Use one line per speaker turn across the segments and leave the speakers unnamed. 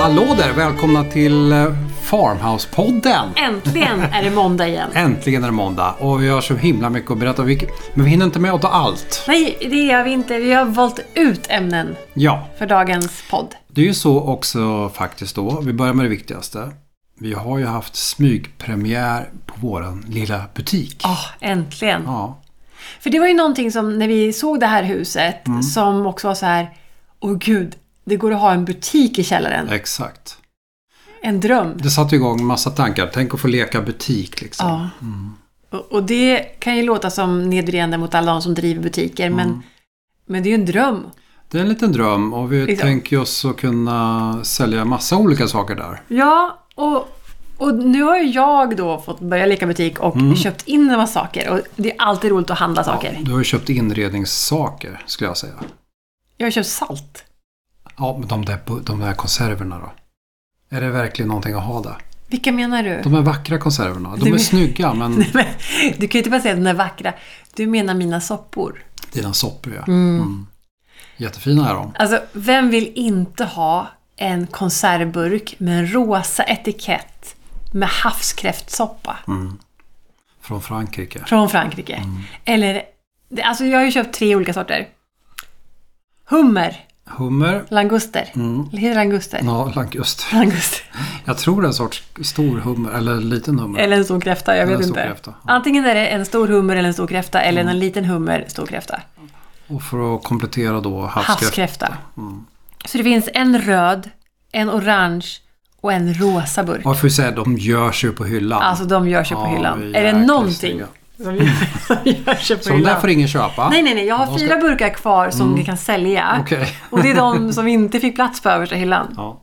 Hallå där! Välkomna till eh, Farmhouse-podden!
Äntligen är det måndag igen.
Äntligen är det måndag och vi har så himla mycket att berätta. Vi- Men vi hinner inte med att ta allt.
Nej, det gör vi inte. Vi har valt ut ämnen
Ja,
för dagens podd.
det är ju så också faktiskt då. Vi börjar med det viktigaste. Vi har ju haft smygpremiär på våran lilla butik.
Ah, äntligen.
Ja,
För det var ju någonting som, när vi såg det här huset, som också var så här, åh gud, det går att ha en butik i källaren.
exakt.
En dröm.
Det satte igång en massa tankar. Tänk att få leka butik liksom.
Ja. Och, och det kan ju låta som nedvridande mot alla de som driver butiker, men, men det är ju en dröm.
Det är en liten dröm och vi
Exakt.
tänker oss att kunna sälja massa olika saker där.
Ja, och, och nu har ju jag då fått börja leka butik och köpt in en massa saker. Och det är alltid roligt att handla saker.
Du har ju köpt inredningssaker skulle jag säga.
Jag har köpt salt.
Ja, men de där, bu- de där konserverna då? Är det verkligen någonting att ha där?
Vilka menar du?
De är vackra konserverna. De
Du
är
men-
snygga, men
Nej, men, du kan ju inte bara säga att de är vackra. Du menar mina soppor.
dina soppor ja. Mm. Jättefina är de.
Alltså, vem vill inte ha en konservburk med en rosa etikett med havskräftsoppa
Mm. Från Frankrike.
från Frankrike?
Mm.
Eller, det- alltså jag har ju köpt tre olika sorter. Hummer,
Hummer.
languster. Mm. Heter det languster?
Ja, languster.
Languster.
Jag tror det är en sorts stor hummer, eller liten hummer.
Eller en stor kräfta, jag
Eller
vet
en stor
inte.
kräfta, Mm. ja.
Antingen är det en stor hummer eller en stor kräfta, eller en liten hummer, stor kräfta.
Och för att komplettera då havskräftor.
Havskräfta.
Mm.
Så det finns en röd, en orange och en rosa burk.
Varför säga de görs ju på hyllan.
Alltså de gör sig på
Ja,
hyllan.
vi
Är det
jäkla
någonting
snygga.
som gör sig på
Så de där får
hyllan?
ingen köpa?
Nej, nej, nej. Jag har
De ska- Mm.
fyra burkar kvar som vi kan sälja.
Okej.
Och det är de som inte fick plats på översta hyllan.
Ja.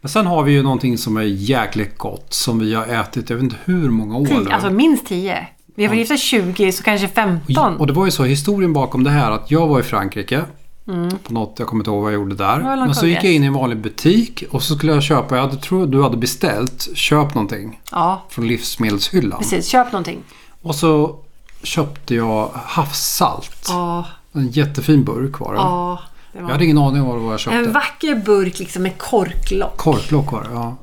Men sen har vi ju någonting som är jäkligt gott som vi har ätit, jag vet inte hur många år nu.
Tio, alltså minst tio. Vi har varit gifta 20, så kanske 15.
Och det var ju så, historien bakom det här att jag var i Frankrike. På något, jag kommer inte ihåg vad jag gjorde där.
Mm. var väl en
Men så gick jag
kongress.
in i en vanlig butik och så skulle jag köpa, jag tror du hade beställt, köp någonting
Ja,
från livsmedelshyllan.
precis. Köp någonting.
Och så köpte jag havssalt.
Ja,
En jättefin burk var det.
ja. det
Jag
var-
hade ingen aning om vad jag köpte.
En vacker burk liksom med korklock.
Korklock var det, ja.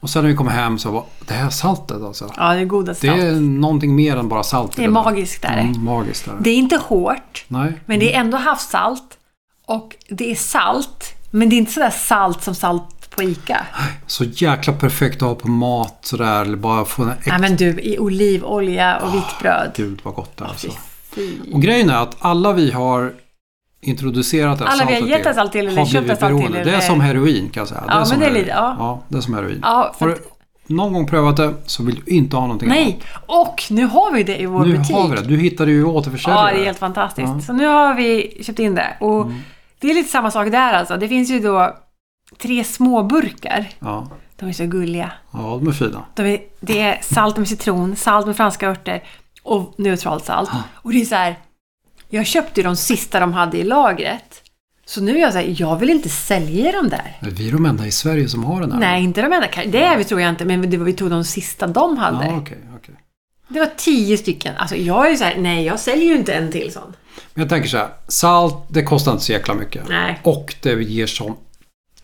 Och sen när vi kom hem så var det här saltet alltså.
Ja, det är goda
Det
salt.
är någonting mer än bara salt. i
Det är
där.
magiskt där.
Mm, magiskt är det.
Det är inte hårt,
Nej.
men det är ändå havssalt. Och det är salt, men det är inte sådär salt som salt på ICA.
Så jäkla perfekt att ha på mat sådär. Eller bara få en äkta...
Nej men du, i olivolja och vitt bröd.
Ah, Gud vad gott det är alltså.
Fy.
Och grejen är att alla vi har introducerat det här
Alla vi har
saltet
gett
till
ett salt till eller
har
köpt ett
blivit
salt till
beroende. Det är
eller-
som heroin kan jag säga.
Ja, men
som
det är
heroin.
lite- ja.
ja, det är som heroin.
Ja, för
Har du någon gång prövat det så vill du inte ha någonting annat.
Nej, och nu har vi det i vår
Nu
butik.
har vi det. Du Mm. hittade ju återförsäljare.
Ja, det är helt fantastiskt. Så nu har vi köpt in det. Och det är lite samma sak där alltså. Det finns ju då tre småburkar.
ja.
De är så gulliga.
ja, de är fina.
De är, det är salt med citron, salt med franska örter och neutralt salt.
Ah.
Och det är så här, jag köpte ju de sista de hade i lagret. Så nu är jag så här, jag vill inte sälja de där.
Men Vi är de enda i Sverige som har den här.
Nej, inte de enda. kan- Det är vi tror jag inte, men det var, vi tog de sista de hade.
Ja, okej, okej.
Det var tio stycken. Alltså jag är ju så här, nej jag säljer ju inte en till sån.
Men jag tänker så här, salt det kostar inte så jäkla mycket.
Nej.
Och det ger som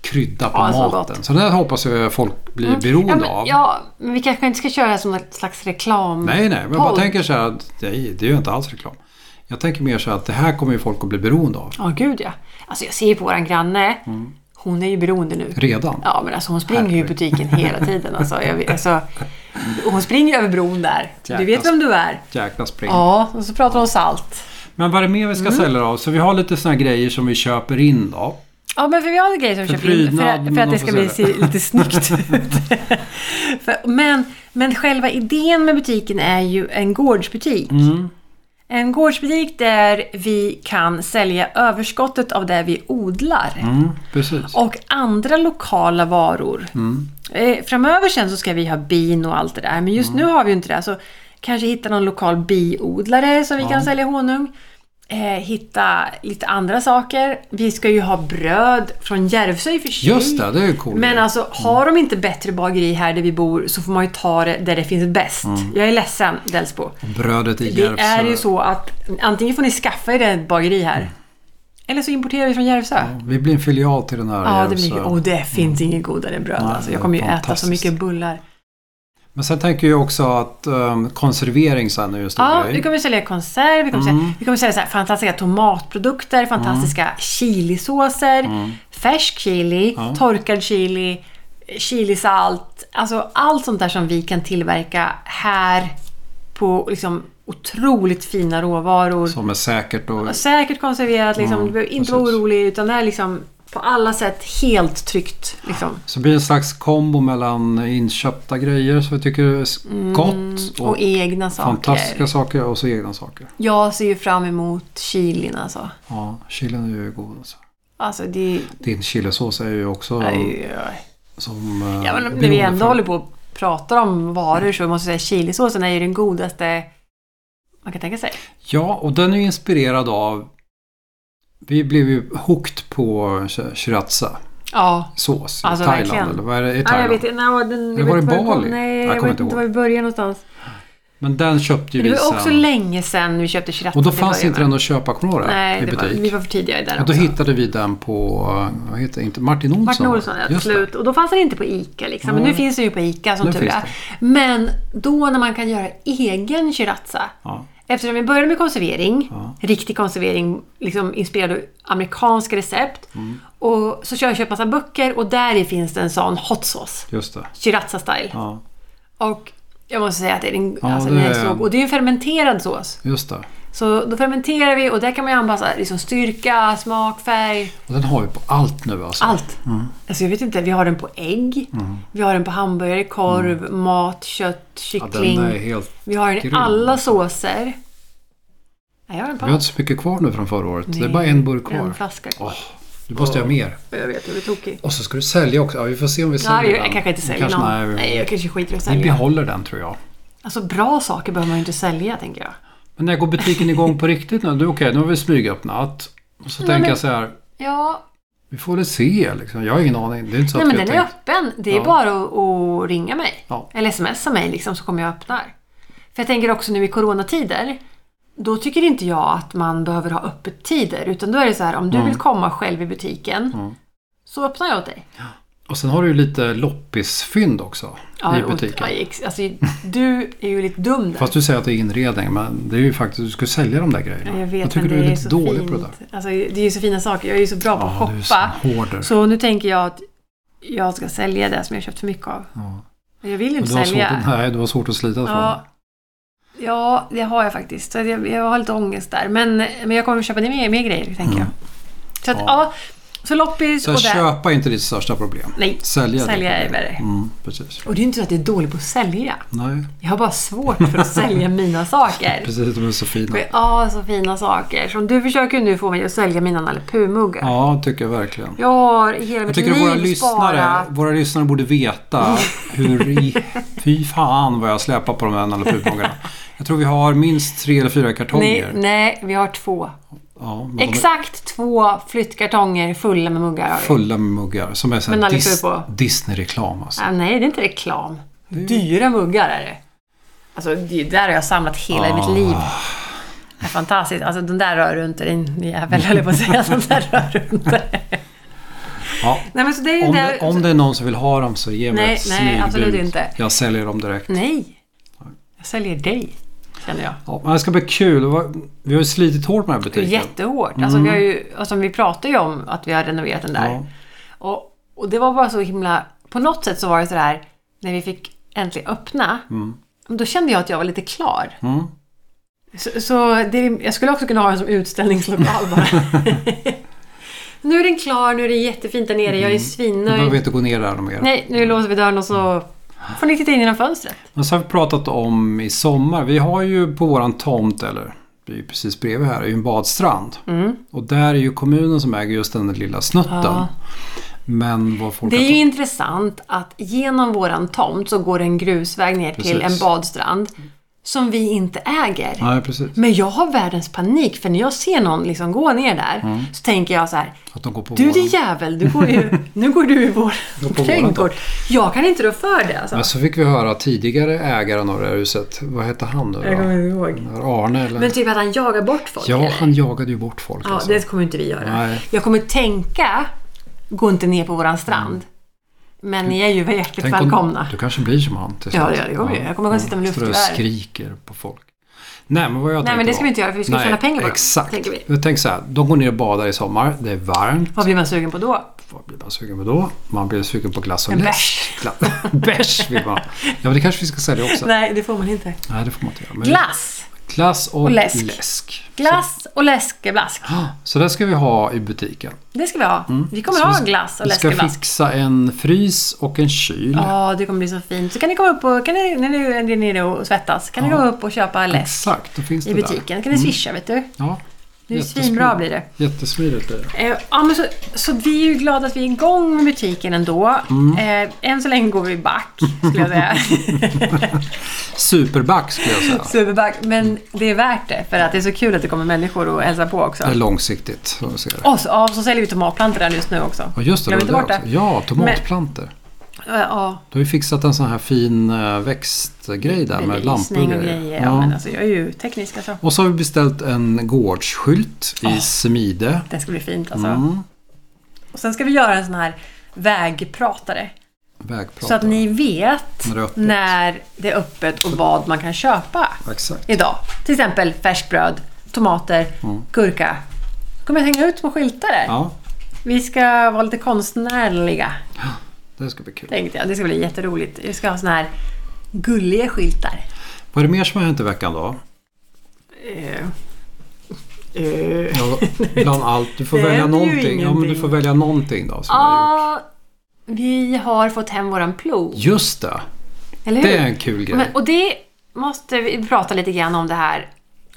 krydda på
Ja, så Mm.
maten. Så, det här hoppas jag folk blir
Ja
beroende
men,
av.
ja, men vi kanske inte ska köra det här som något slags reklam.
Nej, nej, men jag bara
Podd.
tänker så här, att- nej, det är ju inte alls reklam. Jag tänker mer så här att det här kommer ju folk att bli beroende av.
Ja, gud ja. Alltså jag ser ju på våran granne.
Mm.
Hon är ju beroende nu.
Redan.
Ja, men alltså hon springer ju i butiken hela tiden. Alltså, jag, alltså, hon springer över bron där. Du vet vem du är.
Jäkla spring.
Ja, Mm. och så pratar hon salt.
Men vad är det mer vi ska sälja av? Så vi har lite såna här grejer som vi köper in då.
Ja, men för vi har en grej som vi köper in för,
prydnad,
att-
men
för att
man
det
får
ska bli,
se
se lite snyggt ut. för, men, men själva idén med butiken är ju en gårdsbutik.
Mm.
En gårdsbutik där vi kan sälja överskottet av det vi odlar.
Mm, precis.
Och andra lokala varor.
Mm.
Eh, Framöver sen så ska vi ha bin och allt det där.
Mm.
Alltså, Men just nu har vi ju inte det. Så kanske hitta någon lokal biodlare som vi kan sälja honung. eh, hitta lite andra saker. Vi ska ju ha bröd från Järvsö i och för sig.
Just det, det är ju coolt.
Men alltså, har de inte bättre bageri här där vi bor så får man ju ta det där det finns bäst. Jag är ledsen, Delsbo.
Brödet i
Det
Mm. Järvsö. Mm.
är ju så att antingen får ni skaffa er ett bageri här. Eller så importerar vi från Järvsö.
Vi blir en filial till den här
Ja, det,
Järvsö.
blir, oh, det finns inget godare än bröd.
Nej, Mm.
alltså,
det
jag
är
kommer ju äta så
fantastiskt.
mycket bullar.
Men sen tänker jag också att um, konservering sen är ju Mm. en stor
Ja,
grej.
vi kommer sälja konserv, vi kommer, sälja, vi kommer sälja så här fantastiska tomatprodukter, fantastiska chilisåser, färsk chili,
Mm. Ja.
torkad chili, chilisalt. Alltså allt sånt där som vi kan tillverka här på liksom otroligt fina råvaror.
Som är säkert och...
Säkert konserverat, liksom.
Mm,
du behöver inte vara
precis.
orolig utan det är liksom på alla sätt helt tryggt. Liksom.
Så det blir en slags kombo mellan inköpta grejer som vi tycker är gott och,
Mm, Och egna saker.
fantastiska saker och så egna saker.
Jag ser ju fram emot chilin alltså.
Ja, chilen är ju god alltså.
Alltså det
Din chilisås är ju också
är ju...
som... eh,
Ja, men när vi
beroende
ändå
för-
håller på och pratar om varor så måste jag säga chilisåsen är ju den godaste man kan tänka sig.
Ja, och den är ju inspirerad av... Vi blev ju hooked på sh- shiratsa
Ja.
sås i
Alltså,
Thailand.
verkligen.
Eller vad är det? I
Nej, jag
Thailand.
vet inte. Nej, den,
Eller
jag
var
vet
det
inte var den
Bali?
kom- Nej,
Jag
jag
kommer
vet
inte
inte
ihåg.
var i början någonstans.
Men den köpte ju
Men det
vi
var också
sen.
länge sedan vi köpte shiratsa
Och då
till
fanns
början,
inte den att köpa, kommer du ihåg det?
Nej,
I
det var,
butik.
vi var för tidiga där
Och då
också.
hittade vi den på, eh, vad heter det, inte, Martin Olsson?
Martin
va?
Olsson, ja, till
Just det.
slut. Och då fanns den inte på ICA. Liksom. Men
Nej.
nu finns den ju på ICA som
Nu
tur
finns
är. Men då när man kan göra egen shiratsa.
Ja.
Eftersom vi började med konservering,
Ja.
riktig konservering, liksom inspirerad av amerikanska recept.
Mm.
Och så kör jag köpt massa böcker och där i finns det en sån hot sauce.
Just det.
Shiratsa style.
Ja,
Och jag måste säga att det är en,
Ja,
alltså,
det
den är
är-
så god. Och det är en fermenterad sås.
just det.
Så då fermenterar vi och där kan man ju anpassa liksom styrka, smak, färg.
Och den har vi på allt nu alltså.
Allt. Alltså jag vet inte, vi har den på ägg,
Mm.
vi har den på hamburgare, korv, mat, kött,
Ja,
kyckling.
den är helt...
vi har den i
grym,
alla såser. Nej, jag har den på
Vi har
allt.
inte så mycket kvar nu från förra året. Det är bara en burk kvar.
En flaska kvar.
Åh, du måste ha mer.
Jag vet, jag blir tokig.
Och så ska du sälja också. Ja, vi får se om vi säljer
Ja, jag,
den.
jag kanske inte
Vi
säljer
kanske,
någon.
Nej,
Nej,
vi,
jag kanske skiter i att
vi
sälja.
behåller den tror jag.
Alltså bra saker behöver man ju inte sälja, tänker jag.
Men när går butiken igång på riktigt nu? Du, Okej, nu har vi smygöppnat. Och så
Nej,
tänker
men-
jag så här.
Ja,
Vi får väl se liksom. Jag har ingen aning. Det är inte så
nej
att
men
vi har
den är
tänkt.
öppen. Det är
Ja.
bara att, att ringa mig.
Ja.
Eller smsa mig liksom, så kommer jag och öppnar. För jag tänker också nu i coronatider. Då tycker inte jag att man behöver ha öppettider. Utan då är det så här, om du
Mm.
vill komma själv i butiken. Så öppnar jag åt dig.
Och sen har du ju lite loppisfynd också i
och-
butiken.
ja, ex- alltså, du är ju lite dum där.
Fast du säger att det är inredning, men det är ju faktiskt, du ska sälja de där grejerna.
jag
jag
vet,
tycker
men det
du är
är,
lite
så
dålig
fint.
på det där.
Alltså, det är ju så fina saker. Jag är ju så bra på att
Ja, du är
shoppa.
sån hoarder.
Så nu tänker jag att jag ska sälja det som jag köpt för mycket av.
Ja.
Men jag vill ju
Men
inte
Du har, svårt,
sälja.
att- nej, du har svårt att slita från
Ja,
det.
ja, det har jag faktiskt. Så Jag, jag har lite ångest där. Men, men jag kommer köpa mer, mer grejer, tänker jag. Så att,
Ja.
ja. så loppis
Så
och
här,
där.
köpa är inte ditt största problem.
Nej,
Sälja,
sälja
ditt
är
problem.
värre.
Mm, precis.
Och det är ju inte så att jag är dålig på att sälja.
Nej,
Jag har bara svårt för att sälja mina saker.
precis. De är så fina.
Ja, så fina saker. Som du försöker ju nu få mig att sälja mina Nalle Puh-muggar.
Ja, tycker jag verkligen.
Jag har i hela
Jag
mitt
tycker att våra
liv
lyssnare,
sparat.
våra lyssnare borde veta hur i... Fy fan vad jag släpar på de här nallepupmångarna. Jag tror vi har minst tre eller fyra
Nej,
kartonger.
nej, vi har två.
Ja, men de är
Exakt två flyttkartonger fulla med muggar har vi.
fulla med muggar som är så
Med
här
Nalle
dis,
Puh på.
Disney-reklam alltså.
Ah, nej, det är inte reklam. Dyra muggar är det. Alltså, det där har jag samlat hela
Ah.
mitt liv. Det är fantastiskt. Alltså, den där rör du inte, din jävel, höll jag på att säga. Den där rör du inte.
Ja.
Nej, men så det är ju
Om,
där...
det, om det är någon som vill ha dem så ge mig
Nej,
ett
nej,
smygbud.
absolut inte.
Jag säljer dem direkt.
Nej. Jag säljer dig, känner jag.
Ja, men det ska bli kul. Vad- Vi har ju slitit hårt med den här butiken.
Jättehårt. Alltså, vi, har ju, alltså, vi pratade ju om att vi har renoverat den där.
Mm. Ja.
Och, och det var bara så himla... På något sätt så var det så där när vi fick äntligen öppna. Då kände jag att jag var lite klar.
Mm.
Så, så det, är- jag skulle också kunna ha den som utställningslokal bara. nu är den klar, nu är det jättefint där nere. Jag är
Nu behöver Mm. vi Mm.
svinnöjd.
inte gå ner där mer.
Nej, nu låser vi dörren och så får ni titta in genom fönstret.
Men så har vi pratat om i sommar. Vi har ju på våran tomt, eller vi är ju precis bredvid här, är ju en badstrand. Och där är ju kommunen som äger just den där lilla snutten.
Mm. Ja.
Men vad folk
Det
har
är ju
tagit-
intressant att genom våran tomt så går en grusväg ner till
Precis.
en badstrand. som vi inte äger.
Nej, precis.
Men jag har världens panik för när jag ser någon liksom gå ner där
Mm.
så tänker jag så här.
Att de går på
Du
våran.
din jävel, du går ju, nu går du i vår
Går på våran
trädgård. Jag kan inte rå för det alltså.
Men så fick vi höra tidigare ägaren av det här huset. Vad hette han nu då?
Jag kommer inte ihåg.
Arne eller?
Men typ att han jagar bort folk
ja,
eller?
han jagade ju bort folk.
Ja,
alltså.
det kommer inte vi göra.
Nej.
Jag kommer tänka, gå inte ner på våran strand. Men ni är ju hjärtligt
Tänk om-
välkomna.
Du kanske blir som han till
Ja,
slut.
ja, det kommer jag. Jag kommer gå och sitta med
Står och
luftgevär.
skriker på folk. Nej, men vad jag
Nej, men
tänkte
det ska vi
var-
inte göra, för vi ska
Nej,
tjäna pengar på det,
Exakt.
tänker vi.
Jag tänker så här, de går ner och badar i sommar. Det är varmt.
Vad blir man sugen på då?
Vad blir man sugen på då? Man blir sugen på glass och
En
läsk. Gla- Bärs vill man ha. Ja, men det kanske vi ska sälja också. Nej,
Nej, det får man inte.
det får man inte göra. Men
Glass!
glass och,
och läsk.
läsk.
Glass och läskeblask.
Så det ska vi ha i butiken.
Det ska vi ha. Vi kommer
Mm. Så
ha
vi-
glass och
Vi ska
läskeblask.
fixa en frys och en kyl.
Ja, det kommer bli så fint. Så kan ni komma upp och, kan ni, när ni är nere och svettas, kan ni komma upp och köpa läsk
Exakt, Mm. då finns det
i
där.
butiken. kan ni swisha, vet du.
Ja,
Det är
jättesmidigt.
svinbra blir det.
Jättesmidigt blir det.
Eh, ja, men så, så vi är ju glada att vi är igång med butiken ändå.
Mm.
Eh, än så länge går vi back, skulle jag säga.
Superback skulle jag säga.
Superback. Men det är värt det, för att det är så kul att det kommer människor och hälsar på också.
Det är långsiktigt. som jag ser det.
Och så, ja, så säljer vi tomatplantor där just nu också.
Ja, just det.
Glöm
det
inte
var
bort
det
det.
också. Ja, tomatplantor.
Eh, Ja,
Du har ju fixat en sån här fin eh, växtgrej där med lampor
belysning och grejer. Ja. men alltså, jag är ju teknisk alltså.
Och så har vi beställt en gårdsskylt i smide.
Den ska bli fint alltså.
Mm.
Och sen ska vi göra en sån här vägpratare.
Vägpratare.
Så att ni vet
När det är öppet.
när det är öppet och vad man kan köpa
Exakt.
idag. Till exempel färskbröd, tomater, gurka. Då kommer jag hänga ut små skyltar där.
Mm. Ja,
Vi ska vara lite konstnärliga,
det ska bli kul.
tänkte jag. Det ska bli jätteroligt. Vi ska ha såna här gulliga skyltar.
Vad är det mer som har hänt i veckan då?
Eh, eh.
Ja, bland allt. Du får
Det
välja
händer ju
någonting. Ja, men du
ingenting.
får välja någonting då. Som ah.
Ja, vi har fått hem våran plog.
Just det.
Eller hur?
Det är en kul grej.
Men, och det måste vi prata lite grann om det här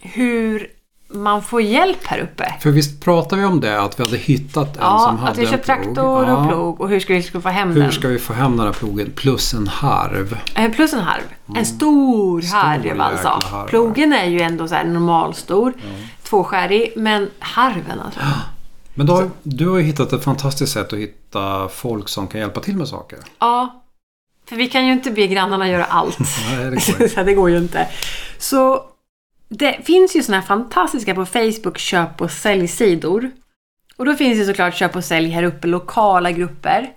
hur man får hjälp här uppe.
För visst pratade vi om det, att vi hade hittat en som
Ja,
hade
att vi köpt
en plog.
traktor
Ja.
och plog och hur ska vi ska få hem
Hur
den?
ska vi få hem den här plogen plus en harv?
Eh, Plus en harv. En stor, harv
Mm. jäkla
alltså.
harv.
Plogen är ju ändå så här normalstor, tvåskärig, men harven alltså.
Men då, har- du har ju hittat ett fantastiskt sätt att hitta folk som kan hjälpa till med saker.
Ja, för vi kan ju inte be grannarna göra allt.
Nej, det går inte.
så det går ju inte. Så det finns ju såna här fantastiska på Facebook köp och säljsidor. Och då finns ju såklart köp och sälj här uppe, lokala grupper.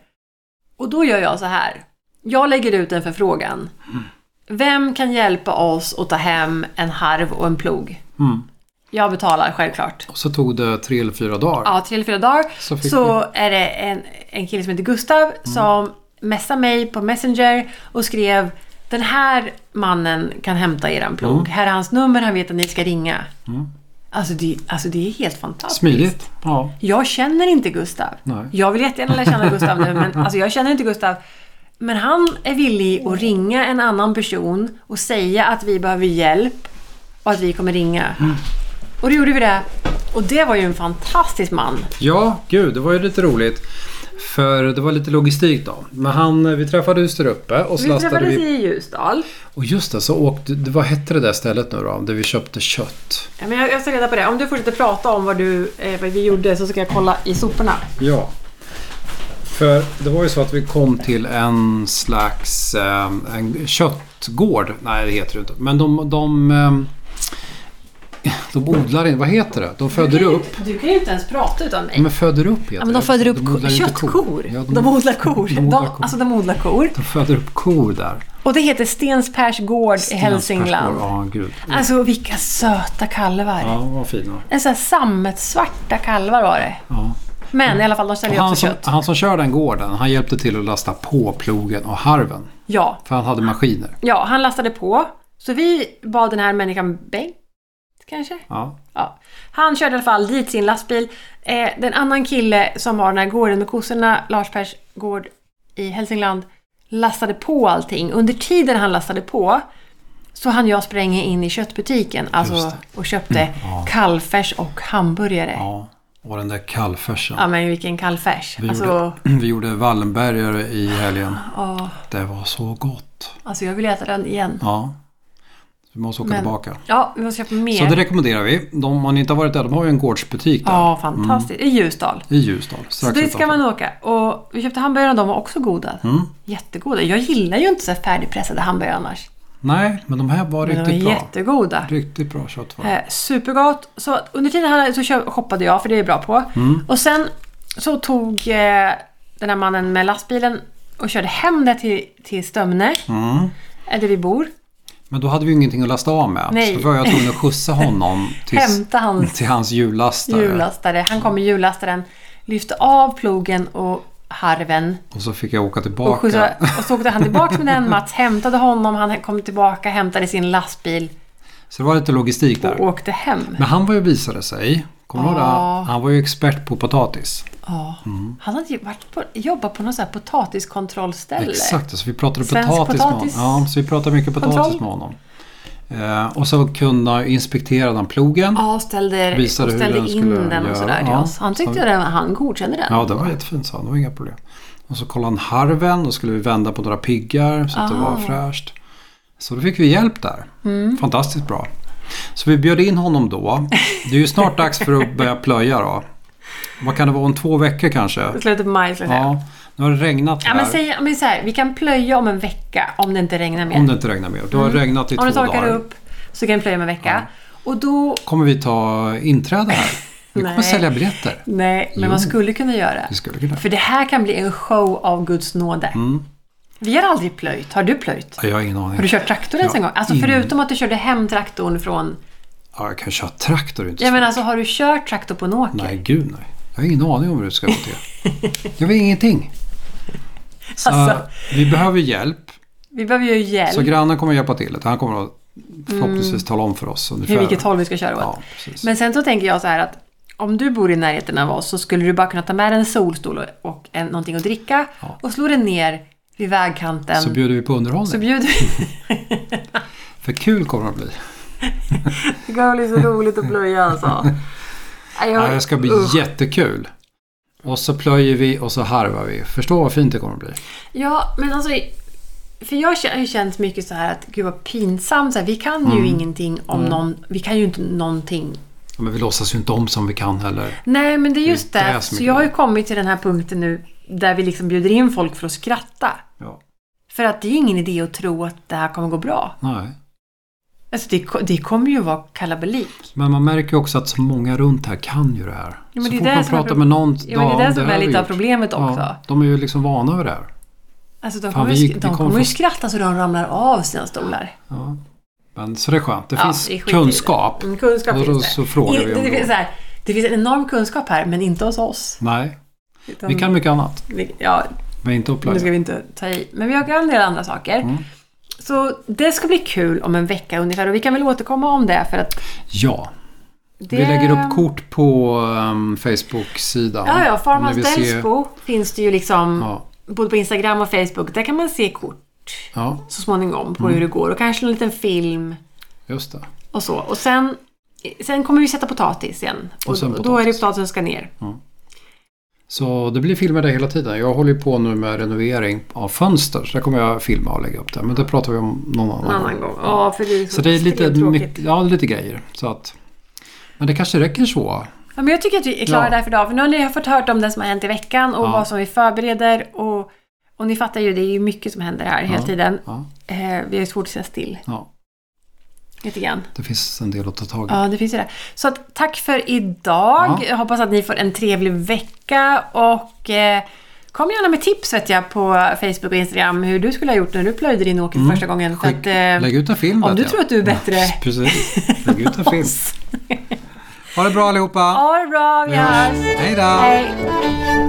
Och då gör jag så här. Jag lägger ut en förfrågan.
Mm.
Vem kan hjälpa oss att ta hem en harv och en plog?
Mm.
Jag betalar självklart.
Och så tog det tre eller fyra dagar.
Ja, tre eller fyra dagar.
Så
Så,
fick
är det en, en kille som heter Gustav som messade mig på Messenger och skrev Den här mannen kan hämta eran plog.
Mm.
Här är hans nummer, han vet att ni ska ringa. Alltså, det, alltså det är helt fantastiskt.
Smidigt. Ja.
Jag känner inte Gustav.
Nej.
Jag vill jättegärna lära känna Gustav nu, men alltså jag känner inte Gustav. Men han är villig att ringa en annan person och säga att vi behöver hjälp och att vi kommer ringa.
Mm.
Och då gjorde vi det. Och det var ju en fantastisk man.
ja, gud, det var ju lite roligt. För det var lite logistik då. Men han, vi träffades där uppe och så
Vi
lastade
träffades
vi.
i Ljusdal.
Och just det, så åkte, det- vad hette det där stället nu då? Där vi köpte kött.
Ja, men jag, jag ska reda på det. Om du fortsätter prata om vad, du, eh, vad vi gjorde så ska jag kolla i soporna.
Ja. För det var ju så att vi kom till en slags eh, en köttgård. Nej, det heter det inte. Men de, de, ehm, de odlar in, vad heter det? De föder
du, kan ju
upp.
inte- du kan ju inte ens prata utan mig.
Men föder upp heter
Ja, men de
det.
föder upp ko-
odlar inte
köttkor.
Ja,
de, odlar kor.
De odlar kor.
De, alltså de odlar kor.
De föder upp kor där.
Och det heter Stenspärs gård i Hälsingland.
Ja, gud.
Alltså vilka söta kalvar.
Ja, vad fina.
En sån här sammetssvarta kalvar var det.
Ja.
Men i alla fall, de säljer
Han,
också
som,
kött.
han som kör den gården, han hjälpte till att lasta på plogen och harven.
Ja.
För han hade maskiner.
ja, han lastade på. Så vi bad den här människan Bengt, kanske?
Ja.
Ja. Han körde i alla fall dit sin lastbil. Eh, den annan kille som har den här gården med kossorna, Lars Pers gård i Hälsingland, lastade på allting. Under tiden han lastade på så han jag spränga in i köttbutiken alltså,
Just Mm,
och köpte kalvfärs och hamburgare. Ja.
ja. Och den där kallfärsen.
men vilken kalvfärs.
Vi,
Alltså,
gjorde, vi gjorde Wallenbergare i helgen.
ja,
Det var så gott.
alltså jag vill äta den igen.
Ja. Du måste åka
Men-
tillbaka.
Ja, vi måste köpa mer.
Så det rekommenderar vi. De, om ni inte har varit där, de har ju en gårdsbutik där.
Ja, fantastiskt. I Ljusdal.
I Ljusdal.
Så
strax
dit ska
utanför.
man åka. Och vi köpte hamburgare och de var också goda.
Mm.
Jättegoda. Jag gillar ju inte så här färdigpressade hamburgare annars.
Nej, men de här var
Men de
riktigt
var
bra.
jättegoda.
Riktigt bra kött var det.
Eh, supergott. Så att under tiden här så kö- shoppade jag, för det är jag bra på.
Mm.
Och sen så tog eh, den här mannen med lastbilen och körde hem det till, till Stömne,
Mm.
eh, där vi bor.
Men då hade vi ju ingenting att lasta av med.
Nej.
Så då var jag tvungen att skjutsa honom tills,
Hämta hans
till hans jullastare.
hjullastare. Han kom med hjullastaren, lyfte av plogen och harven.
Och så fick jag åka
Och, skjutsade,
tillbaka.
och så åkte han tillbaka med den. Mats hämtade honom, han kom tillbaka, hämtade sin lastbil
Så det var lite logistik där. Mm.
och åkte hem.
Men han var ju visade sig. Kommer du ihåg
Ja.
det? Han var ju expert på potatis.
Ja. Han hade ju varit på, jobbat på något sånt här potatiskontrollställe.
Exakt, så vi pratade
Svensk
potatis,
potatis-
med honom. Ja, så vi pratade mycket potatis
Kontroll.
med honom. Eh, och så kunde inspekterade han plogen.
Ja, och ställde, och
Visade hur
ställde
den
in
skulle
den och
göra.
sådär till
Ja,
oss. Han
så
tyckte
vi-
det, han godkände den.
Ja, det var jättefint sa han. Det var inga problem. Och så kollade han harven. Då skulle vi vända på några piggar så att det var
Ah.
fräscht. Så då fick vi hjälp där.
Mm.
Fantastiskt bra. Så vi bjöd in honom då. Det är ju snart dags för att börja plöja då. Vad kan det vara? Om två veckor kanske?
I Slutet på maj skulle jag säga.
Ja, nu har det regnat
Ja,
här.
men säg men så här, vi kan plöja om en vecka om det inte regnar mer. Mm.
Om det inte regnar mer. Det har regnat i
Om
två
det torkar
dagar.
upp så kan vi plöja om en vecka. Och då...
Kommer vi ta inträde här? Vi kommer
Nej.
sälja biljetter.
Nej, men man skulle kunna göra.
Vi skulle Mm. kunna.
För det här kan bli en show av Guds nåde. Vi har aldrig plöjt. Har du plöjt?
Ja, Jag har ingen
Har
aning.
du kört traktor ens en gång? Alltså förutom att du körde hem traktorn från...
Ja, jag kan köra traktor. det är Inte
Ja
så-
men alltså har du kört traktor på en åker?
Nej, gud nej. Jag har ingen aning om hur det ska gå till. Jag vet ingenting. Så,
Alltså.
Vi behöver hjälp.
Vi behöver ju hjälp.
Så grannen kommer hjälpa till lite. Han kommer att förhoppningsvis tala om för oss ungefär.
hur Mm. vilket håll vi ska köra åt.
Ja, precis.
Men sen så tänker jag så här att om du bor i närheten av oss så skulle du bara kunna ta med dig en solstol och- och en, någonting att dricka och slå den ner vid vägkanten.
Så bjuder vi på underhållning.
Så bjuder vi.
För kul kommer det att bli.
Det kommer bli så roligt att plöja alltså. Nej,
Ja,
jag-
det ska bli
usch.
jättekul. Och så plöjer vi och så harvar vi. Förstå vad fint det kommer att bli.
Ja, men alltså... För jag har ju känt mycket så här att gud vad pinsamt. Så här, vi kan
Mm.
ju ingenting om någon... Vi kan ju inte någonting.
Ja, Men vi låtsas ju inte om som vi kan heller.
Nej, men det är just
Det
det.
är så
så
mycket
jag har ju kommit till den här punkten nu där vi liksom bjuder in folk för att skratta.
Ja.
För att det är ingen idé att tro att det här kommer gå bra.
Nej.
Alltså det, ko- det kommer ju vara kalabalik.
Men man märker ju också att så många runt här kan ju det här.
men
så
det är
fort
det
man
som är
pratar
pro-
med någon...
Ja, men det är det som
här
är
har vi
lite av
gjort."
problemet också.
Ja, de är ju liksom vana vid det här.
Alltså
Fan,
de kommer,
vi-
ju sk-
vi
de
kommer
kommer ju
få-
skratta så de ramlar av sina stolar.
Ja. Men, så det är skönt. Det
Ja,
finns
vi skiter i det.
kunskap.
Mm, kunskap
Och då
finns det.
så frågar
I-
vi
det,
om
det, finns
det.
så här, det finns en enorm kunskap här, men inte hos oss.
Nej,
Utan-
vi kan mycket annat.
vi- Ja,
Men inte att
Mm. nu ska
plöja.
vi inte ta i. Men vi har en del andra saker.
Mm.
Så det ska bli kul om en vecka ungefär och vi kan väl återkomma om det för att
Ja,
det...
vi lägger upp kort på um, Facebook-sidan.
Ja, ja.
Om ni
Farmans
vill se-
Delsbo finns det ju liksom
Ja,
både på Instagram och Facebook. Där kan man se kort
ja,
så småningom på
Mm.
hur det går och kanske en liten film
just det.
och så. Och sen, sen kommer vi sätta potatis igen. Och,
sen
då är det
potatis.
potatisen som ska ner.
Så det blir filmer där hela tiden. Jag håller ju på nu med renovering av fönster. Så där kommer jag filma och lägga upp det. Men det pratar vi om någon annan
En
gång.
annan gång. Ja, för det är
Så det är lite,
extremt tråkigt.
mycket, ja, lite grejer. Så att, men det kanske räcker så.
Ja, men jag tycker att vi är klara
Ja.
där för idag. För nu har ni fått hört om det som har hänt i veckan och
Ja.
vad som vi förbereder. Och, och ni fattar ju, det är ju mycket som händer här hela
Ja.
tiden.
Ja,
Eh, vi har ju svårt att sitta still
ja,
lite grann.
det finns en del att ta tag i.
Ja, det finns ju det. Så att, tack för idag.
Ja.
Jag hoppas att ni får en trevlig vecka. Och eh, kom gärna med tips vet jag på Facebook och Instagram hur du skulle ha gjort när du plöjde din åker för första gången. För
Mm. Skick-
att, eh,
Lägg ut en film.
om
vet
du
jag.
tror att du är bättre
Ja, Precis. Lägg ut en film. Ha det bra allihopa.
ha det bra, vi hörs!
Hej då.
Hej!